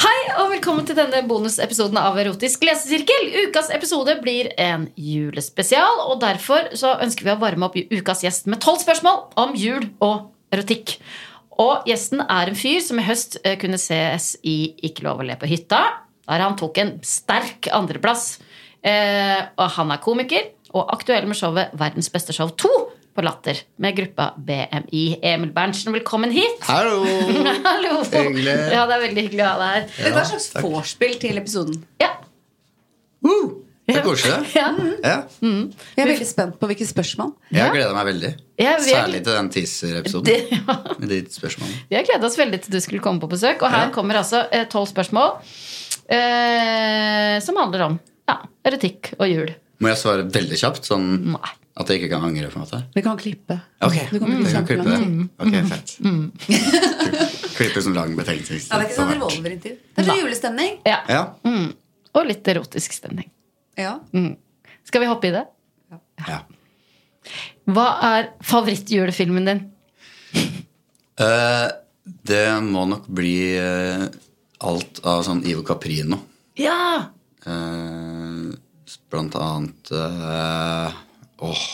Hei og velkommen til denne bonusepisoden av Erotisk lesesirkel. Ukas episode blir en julespesial, og derfor så ønsker vi å varme opp ukas gjest med tolv spørsmål om jul og erotikk. Og gjesten er en fyr som i høst eh, kunne ses i Ikke lov å le på hytta, der han tok en sterk andreplass. Eh, og han er komiker og aktuell med showet Verdens beste show 2 på Latter med gruppa BMI. Emil Berntsen, velkommen hit. Hallo! Hallo. Hyggelig. Ja, det er veldig hyggelig å ha deg her. Ja, Dette er et slags takk. vorspiel til episoden. Ja. Woo! Det er koselig. Ja. Mm. Ja. Jeg er veldig spent på hvilke spørsmål. Jeg gleder meg veldig. Ja, vi er- Særlig til den teaser-episoden. Det, ja. Med de spørsmålene. Vi har gledet oss veldig til du skulle komme på besøk, og her Ja. kommer altså tolv spørsmål eh, som handler om ja, erotikk og jul. Må jeg svare veldig kjapt, sånn Nei. at jeg ikke kan angre? på en måte? Vi kan klippe. Ok, Du kan klippe jeg kan klippe det. Mm. Ok, kjempelangt. fett. Klippe sånn lang betenkningstid. Ja, det er ikke sånn revolverintervju. Det er sånn julestemning. Ja, Ja. Mm. Og litt erotisk stemning. Ja. Mm. Skal vi hoppe i det? ja. Hva er favorittjulefilmen din? Eh, det må nok bli eh, alt av sånn Ivo Caprino. Ja! Eh, blant annet eh, Åh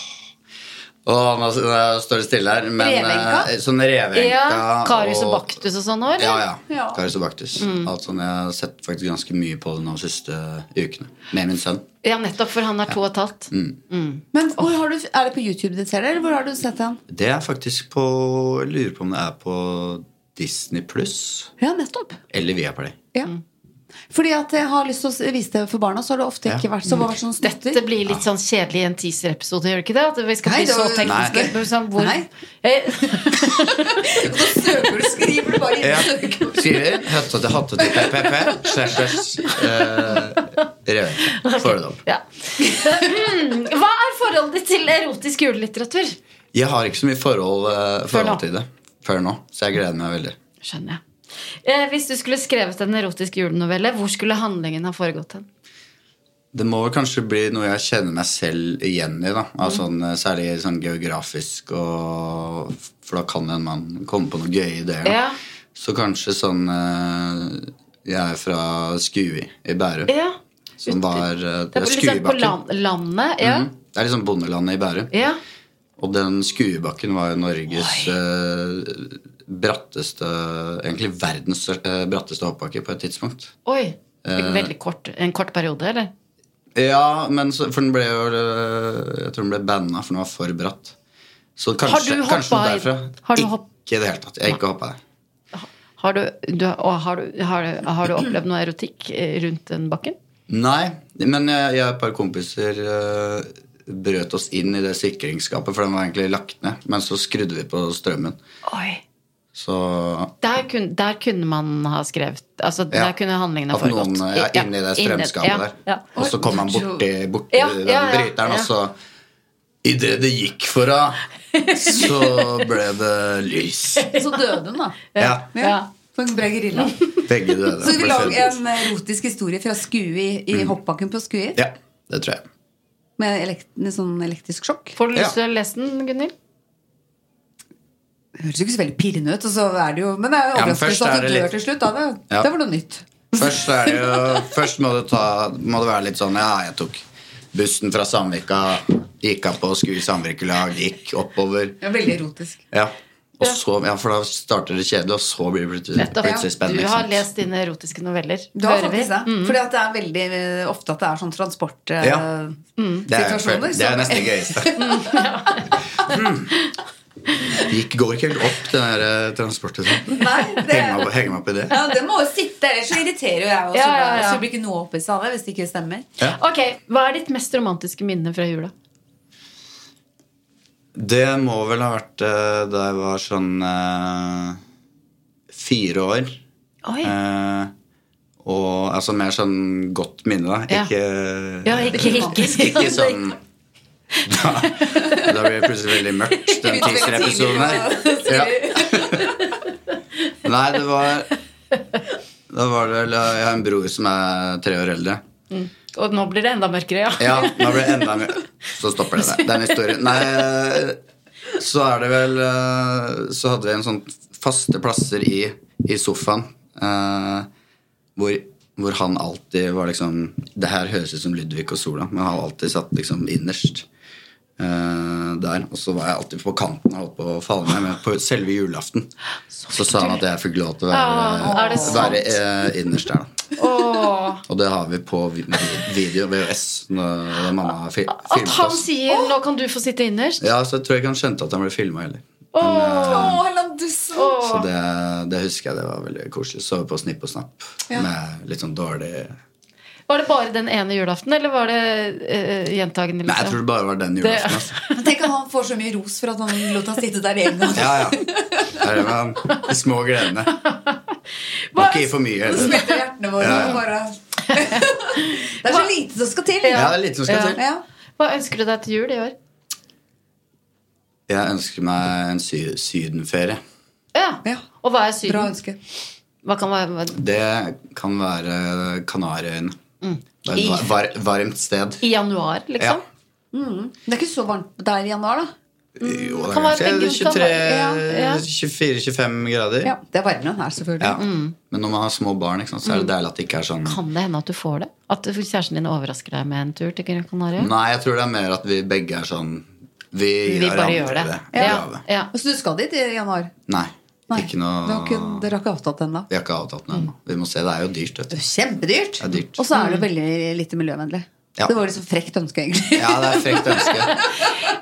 Åh, nå nå står det stille her. Men, Revenka? eh, sånn Revenka ja Karius og og- Baktus Mm. og sånn òg? Ja, ja. Ja. Karius og Baktus. Alt sånn, Jeg har sett faktisk ganske mye på den de siste ukene. Med min sønn. ja, nettopp, for han er to og et halvt. Mm. Men hvor har du, er det på YouTube din ser det, eller hvor har du sett den? Det er faktisk på Jeg lurer på om det er på Disney pluss Ja, nettopp. eller Viaplay. Ja. Fordi at jeg har lyst til å vise det for barna, så har det ofte ikke Mm. vært så bare sånn snutter. Dette blir litt sånn kjedelig i en teaser-episode, gjør det ikke det? At vi skal Nei, bli det så var- tekniske. Nei. Sånn, hvor, Nei. Eh, Da søker du, skriver du bare inn Ja. søker. Skriver høttete hattete ppp slash slash eh, Revenka. Får du det opp. Ja. Hmm. Hva er forholdet ditt til erotisk julelitteratur? Jeg har ikke så mye forhold, eh, Før nå. forhold til det før nå, så jeg gleder meg veldig. Skjønner jeg. Eh, hvis du skulle skrevet en erotisk julenovelle, hvor skulle handlingen ha foregått hen? Det må vel kanskje bli noe jeg kjenner meg selv igjen i. da Mm. av sånn, eh, Særlig sånn geografisk, og, for da kan en mann komme på noen gøye ideer. da. Ja. Så kanskje sånn eh, Jeg er fra Skui i Bærum. Ja. Som var eh, Det er litt sånn på Skuebakken. land, landet. Ja. Mhm. Det er liksom bondelandet i Bærum. ja. Og den Skuebakken var jo Norges eh, bratteste Egentlig verdens eh, bratteste hoppbakke på et tidspunkt. Oi. Eh. Veldig kort. En kort periode, eller? Ja, men så, for den ble jo eh, Jeg tror den ble banna, for den var for bratt. Så kanskje, du kanskje noe hoppa i- derfra. har du hopp- Ikke i det hele tatt. Jeg har ikke hoppa der. Har du, du, og har, du, har, du, har du opplevd noe erotikk eh, rundt den bakken? Nei, men jeg, jeg og et par kompiser eh, brøt oss inn i det sikringsskapet, for den var egentlig lagt ned. Men så skrudde vi på strømmen. Oi. Så Der kunne, der kunne man ha skrevet Altså, ja. Der kunne handlingen ha At foregått. noen eh, ja, inni det inni- strømskapet ja, der. Ja. Og så kom han borti, borti Ja, den ja, ja, bryteren, ja. og så Idet det gikk for henne, så ble det lys. Så døde hun, da. Ja, Ja. På en bra gerilla. begge døde. Så vi Ble lager funnet. en eh, erotisk historie fra Skui i hoppbakken på Skui Mm. Ja, det tror jeg. med, elekt, med sånn elektrisk sjokk. Får du lyst Ja. til å lese den, Gunhild? Det høres jo ikke så veldig pirrende ut, og så er det jo, men det er jo Ja, men først overraskelse at er du det dør litt- til slutt. Da. Det, Ja. det var noe nytt. Først, er det jo, først må, det ta, må det være litt sånn Ja, jeg tok bussen fra Sandvika, gikk av på Skui samvirkelag, gikk oppover. Ja, veldig erotisk. Ja. Og så, ja, For da starter det kjedelig, og så blir det plutselig, Nettopp. plutselig spennende. Du ikke har sant? lest dine erotiske noveller. Du har hører vi. Mm. faktisk det. Fordi at det er veldig eh, ofte at det er sånn Mm. Ja. Det er, transportsituasjoner. det er nesten det gøyeste. Det gikk- går ikke helt opp, det der eh, transportet. sånn. Nei, det, Henger meg opp- henger meg opp i det. ja, det må jo sitte, ellers så irriterer jo jeg også. Ja, ja, ja. Så det blir ikke noe opp i seg av det hvis det ikke stemmer. Ok, Hva er ditt mest romantiske minne fra jula? Det må vel ha vært eh, da jeg var sånn eh, fire år. Oi. Eh, og altså mer sånn godt minne, da. Ja. Ikke, Ja, ikke- ikke- ikke sånn da, da blir det plutselig veldig mørkt, den Begynte veldig teaser-episoden her. tidlig, Ja. Nei, det var Da var det vel Jeg har en bror som er tre år eldre. Og nå blir det enda mørkere, ja. Ja, da blir det enda mer Så stopper det der. Den historien. Nei, så er det vel eh, Så hadde vi en sånn faste plasser i, i sofaen eh, hvor, hvor han alltid var liksom Det her høres ut som Ludvig og Sola, men han alltid satt liksom innerst. eh, der, Og så var jeg alltid på kanten og holdt på å falle ned. Men på selve julaften så sa han at jeg fikk lov til å være, Åh, er det sant? være eh, innerst der. da Åh. og det har vi på vi- vi- video, VHS, når når mamma fi- At filmet han oss. sier 'nå kan du få sitte innerst'? Ja, så jeg tror ikke han skjønte at han ble filma heller. Å, Hellandussen. Så det, det husker jeg det var veldig koselig. Sove på snipp og snapp med litt sånn dårlig Var det bare den ene julaften, eller var det uh, gjentagende? Nei, jeg tror det bare var den julaften. Altså. Tenk at han får så mye ros for at han lot han sitte der en gang. Ja, ja. Det er det med de små gledene. Må ikke gi for mye. Det heller. smelter hjertene våre. Ja, ja. og Bare... det er så lite som skal til. Ja, det er litt som skal til. Ja. Hva ønsker du deg til jul i år? Jeg ønsker meg en sy sydenferie. Ja. Ja. Og hva er Bra Syden? ønske. Hva kan være hva- Det kan være Kanariøyene. Det er Mm. I- et var var varmt sted. I januar, Ja. liksom? Det er ikke så varmt der i januar, da. Jo, det kan være er begge kanskje kan være- ja, ja. 24-25 grader. Ja, det er varmere enn her, selvfølgelig. Ja. Men når man har små barn, ikke sant, så er det deilig at det ikke er sånn Mm. Kan det hende at du får det? At kjæresten din overrasker deg med en tur til Gran Canaria? Nei, jeg tror det er mer at vi begge er sånn Vi gir Vi bare hverandre gjør det. i Ja. gave. Ja. Så du skal dit i januar? Nei, Nei, Ikke noe det har ikke- Dere har ikke avtalt ennå? Vi har ikke avtalt noe Mm. ennå. Vi må se. Det er jo dyrt, vet Det du. er Kjempedyrt! Det er dyrt. Og så er det veldig lite miljøvennlig. Ja. Det var liksom frekt ønske, egentlig. Ja, det er et frekt ønske.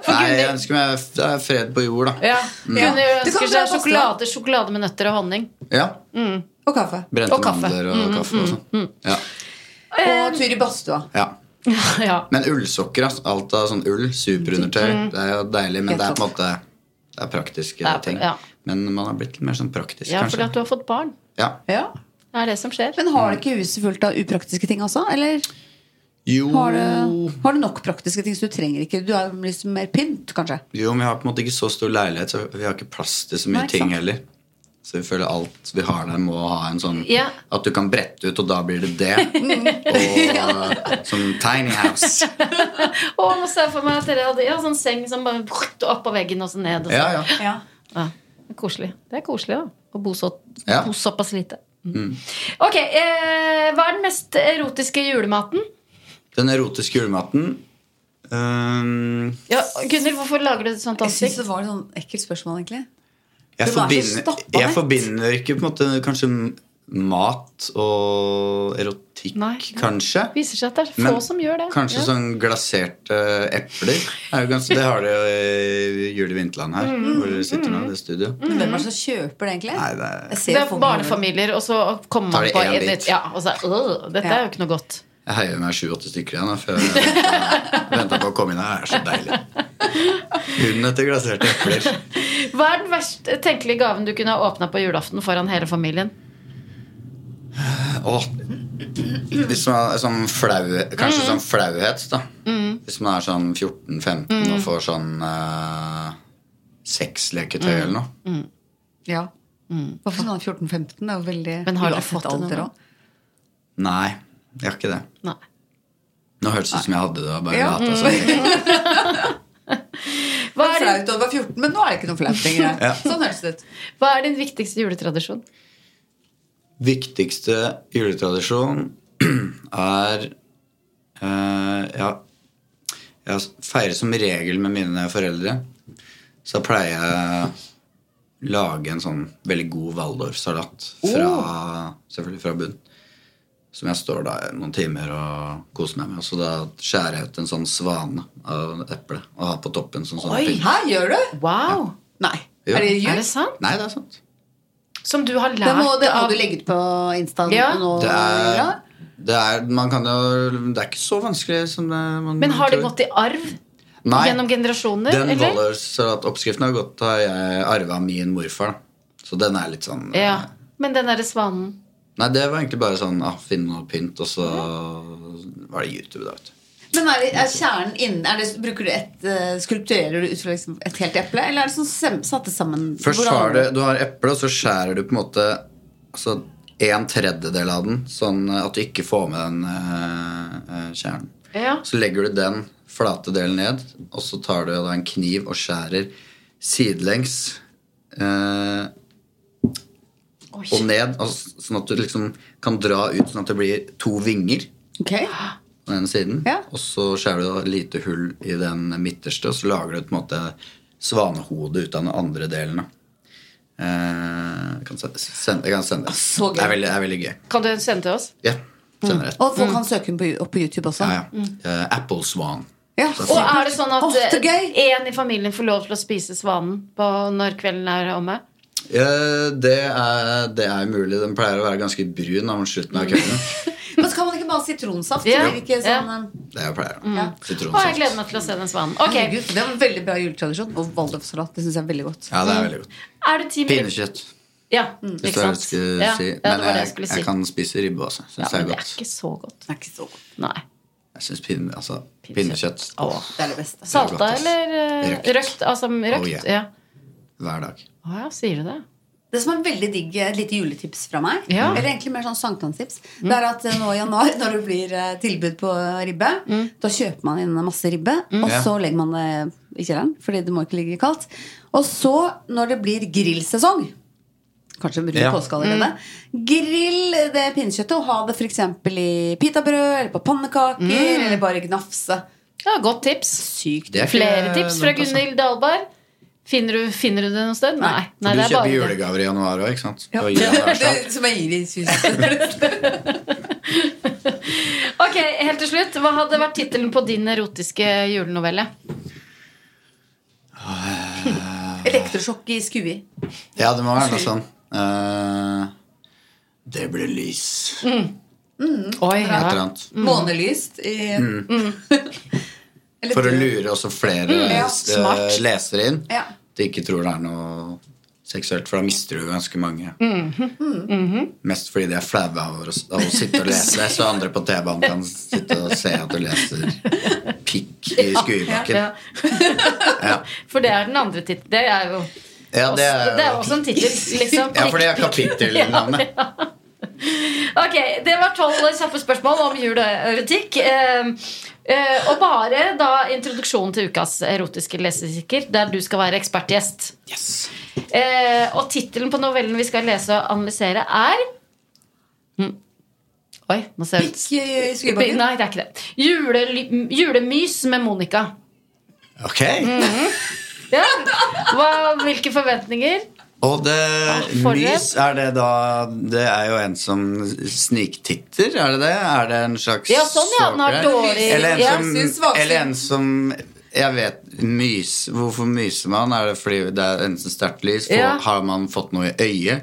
Nei, jeg ønsker meg det er fred på jord, Ja. da. Ja. Kunne jo Du kan ønske dra seg på sjokolade, sjokolade med nøtter og honning. Ja. Og kaffe. Ehm. Brente Mm. Og kaffe. mm, mandler og kaffe og sånn. Ja. Og tur i badstua. ja. ja. Men ullsokker, altså. Alt av sånn ull. Mm. Superundertøy. Det er jo deilig, men det er på en måte Det er praktiske er- ting. ja. Men man har blitt litt mer sånn praktisk, ja, fordi kanskje. at du har fått barn. Ja. Ja. Det er det som skjer. Men har du ikke huset fullt av upraktiske ting også? Eller Jo, har du, har du nok praktiske ting, så du trenger ikke Du er liksom mer pynt, kanskje? Jo, men vi har på en måte ikke så stor leilighet, så vi har ikke plass til så mye Nei, ikke ting sant. heller. Så vi føler alt vi har der, må ha en sånn Ja. At du kan brette ut, og da blir det det. og sånn tiny house. Og nå ser jeg for meg at dere hadde ja, sånn seng som bare brrrt, opp på veggen og så ned. Og så. Ja, ja. Ja. Det er Koselig. Det er koselig, da. Å bo, så, Ja. Mm. bo såpass lite. Mm. Ok, eh, Hva er den mest erotiske julematen? Den erotiske julematen um, øhm, Ja, Gunhild, hvorfor lager du et sånt Jeg syns ansikt? det var et sånn ekkelt spørsmål, egentlig. jeg, Du var så forbinder, stappa jeg nett. forbinder ikke på en måte kanskje mat og erotikk, Nei. kanskje. Det viser seg at det er få Men som gjør det. Kanskje ja. sånn glaserte epler. Er jo ganske, det har de jo i Jul i Vinterland her, Mm. hvor dere sitter nå. Det studio. Men hvem er det som kjøper Mm. det, egentlig? Nei, det er, Jeg Det ser er folk- barnefamilier, og så kommer Tar man de på en en bit. Ja, og så er øh, Dette er jo ikke noe godt. jeg heier meg sju-åtte stykker igjen da, før jeg venta på å komme inn her. Det er så deilig. Hunden etter glaserte epler. Hva er den verst tenkelige gaven du kunne ha åpna på julaften foran hele familien? Åh, hvis man er sånn flau, kanskje sånn flauhet, da. Hvis man er sånn 14-15 og får sånn uh, sexleketøy eller noe. Ja. Hva for sånn 14-15? Det er jo veldig Mm. Men har dere uansett fått det noen alder gang? også. Nei, jeg har ikke det. Nei. Nå hørtes det ut som jeg hadde det. og Bare Ja. lata som jeg ikke Hva Det var er, din, flaut da du var 14, men nå er det ikke noe flaut lenger. Ja. Sånn høres det ut. hva er din viktigste juletradisjon? Viktigste juletradisjon er eh, ja, Jeg feirer som regel med mine foreldre. Så pleier jeg lage en sånn veldig god waldorfsalat fra, selvfølgelig fra bunn. Som jeg står da noen timer og koser meg med. Og så da skjærer jeg ut en sånn svane av et eple og har på toppen som sånn Oi, pynt. Hæ, gjør du? Wow! Nei. Jo. Er det jul? Er det sant? Nei, det er sant. Som du har Det lært må, det må av du legge ut på Insta Ja. nå. Det er, Ella. det er, man kan jo, det er ikke så vanskelig som det, man Men har det tror. gått i arv Nei. gjennom generasjoner? Den eller? waldorfsalatoppskriften har gått har jeg arva av min morfar. da. Så den er litt sånn Ja. Men den derre svanen Nei, det var egentlig bare sånn ah, finne noe pynt, og så var det YouTube, da, vet du. Men er, det, er kjernen innen er det, Bruker du et eh, Skulpturerer du ut fra liksom et helt eple, eller er det sånn sem, satte sammen Først hvordan- har du, du har eple, og så skjærer du på en måte altså, en tredjedel av den, sånn at du ikke får med den eh, eh, kjernen. Ja. Så legger du den flate delen ned, og så tar du da en kniv og skjærer sidelengs eh, Oi. og ned, altså, sånn at du liksom kan dra ut sånn at det blir to vinger Ok. på den ene siden. Ja. Og så skjærer du da et lite hull i den midterste, og så lager du på en måte svanehode ut av den andre delen. da. Eh, jeg, kan se- sende, jeg kan sende det. Så gøy. Mm. Det er veldig, det er veldig gøy. Kan du sende til oss? Ja, sender det. Og Mm. folk kan søke den på, opp på YouTube også. Ja, ja. mm. Eh, Apple Swan. Ja. Og er det sånn at Åh, så gøy! én i familien får lov til å spise svanen på når kvelden er omme? Eh, det, er, det er mulig. Den pleier å være ganske brun av slutten av kvelden. Men så kan man ikke bare ha sitronsaft? Ja. så blir det ikke Ja. sånn, eh, Det er jo pleier. Ja. Sånn Å, jeg gleder meg til å se den svanen. Ok, Herregud, det var en veldig bra juletradisjon. Og waldorfsalat. Det syns jeg er veldig godt. Ja, det er veldig godt. Er det ti minutter Pinnekjøtt. Ja, Hvis Mm. ikke det var sant? det jeg skulle Ja, si. ja, det var Men det jeg, jeg skulle jeg si. kan spise ribbe også. Syns Ja, det men er det er godt. ikke så godt. Det er ikke så godt. Nei. Jeg syns pinne, altså, pinnekjøtt åh, Det er det beste. godt, Salta ass. eller eh, Røkt. Oh, røkt? Altså røkt? yeah. Ja. hver dag. Å ja, sier du det? Det som er veldig digg, et lite juletips fra meg, Ja. eller egentlig mer sånn sankthanstips, Mm. det er at eh, nå i januar, når det blir eh, tilbud på ribbe, da kjøper man inn masse ribbe, og Mm. Ja. så legger man det i kjelleren, fordi det må ikke ligge kaldt. Og så, når det blir grillsesong, kanskje rundt Ja. Mm. påske allerede, grill det pinnekjøttet, og ha det f.eks. i pitabrød, eller på pannekaker, Mm. eller bare gnafse. Ja, godt tips. Sykt. Det er ikke Flere tips fra dumt, altså. Gunhild Dahlberg. Finner du, finner du det noe sted? Nei. Nei, du det er kjøper bare det. julegaver i januar òg, ikke sant? Ja. Og gir han hver sak. Som jeg gir i synet. Ok, Helt til slutt, hva hadde vært tittelen på din erotiske julenovelle? Elektrosjokk i skui. Ja, det må være noe sånn. Eh, det ble lys. Et Oi, eller ja. annet. Mm. Månelyst i Eller For å død. lure også flere ja. eh, Mm. Smart. lesere inn. Ja. De ikke tror det er noe seksuelt, for da mister du ganske mange. Mm-hmm. Mest fordi de er flaue av, å- av å sitte og lese, så andre på T-banen kan sitte og se at du leser pikk i skuebakken. Ja. Ja, For det er den andre tittelen. Det er jo det er også, jo det er også en tittel, liksom. Ja, for det er kapittelnavnet. Ok, Det var tolv kjappe spørsmål om jul og erotikk. Eh, eh, og bare da introduksjonen til ukas erotiske lesesirkel, der du skal være ekspertgjest. Yes. Eh, og tittelen på novellen vi skal lese og analysere, er Mm. Oi, nå ser jeg ut Pikk i Nei, skuebakken. det er ikke det. Julely, julemys med Monica. Ok. Mm-hmm. Ja. Hva, hvilke forventninger? Og det for mys, er det da Det er jo en som sniktitter, er det det? Er det en slags Ja, sånn, ja, den har svakere? dårlig- Eller en ja. Syn, som, svaksyn. eller en som jeg vet, mys, Hvorfor myser man? Er det fordi det er enten sterkt lys? Får- Ja. Har man fått noe i øyet?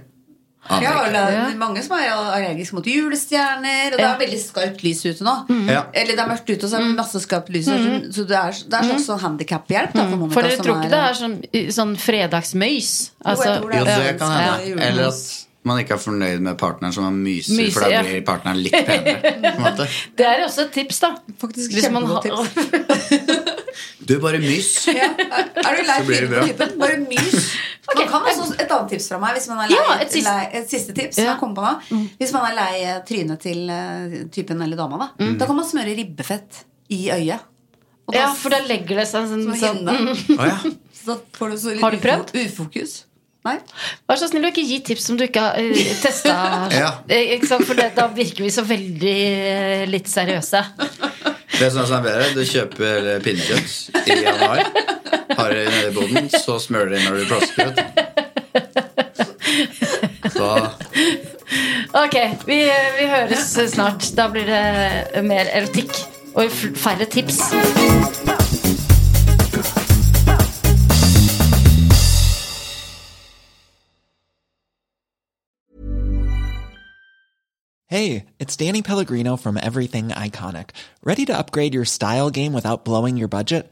Aner Ja, ikke. det er mange som er allergiske mot julestjerner. Og det er veldig skarpt lys ute nå. Mm. Ja. Eller det er mørkt ute, og så er det masse skarpt lys. ute, Så det er, det er slags sånn handikaphjelp da, for Monica. Mm. For dere som tror ikke det er sånn, sånn Altså, fredagsmøys? jeg tror det. Jo, det ønsker kan hende. jeg julemys. Eller at man ikke er fornøyd med partneren som har myser, Myser, for da ja. blir partneren litt penere. på en måte. Det er også et tips, da. Faktisk Hvis man kjempegodt har- tips. Du, bare mys. Ja, er- er du lei Så blir det bra. fyren? Bare mys. Man kan også, et annet tips fra meg, hvis man er lei, Ja, et siste- lei, et siste tips som Ja. Mm. jeg kom på nå. Hvis man er lei eh, trynet til eh, typen eller dama, da, da kan man smøre ribbefett i øyet. Og da, Mm. Ja, for da legger det seg en sånn, Som sånn hinne. Å, ja. så da får du så litt Har du ufo- prøvd? ufokus. Nei. Vær så snill å ikke gi tips som du ikke har uh, testa. Ja. Eh, Ikke sant? For det, da virker vi så veldig eh, litt seriøse. Det som er sånn bedre, du kjøper pinnekjøtt i januar, har det nede i boden, så smører du det når du plasker ut. Ok, vi, eh, vi høres snart. Da blir det mer erotikk og f- færre tips. Hey, it's Danny Pellegrino from Everything Iconic. Ready to upgrade your style game without blowing your budget?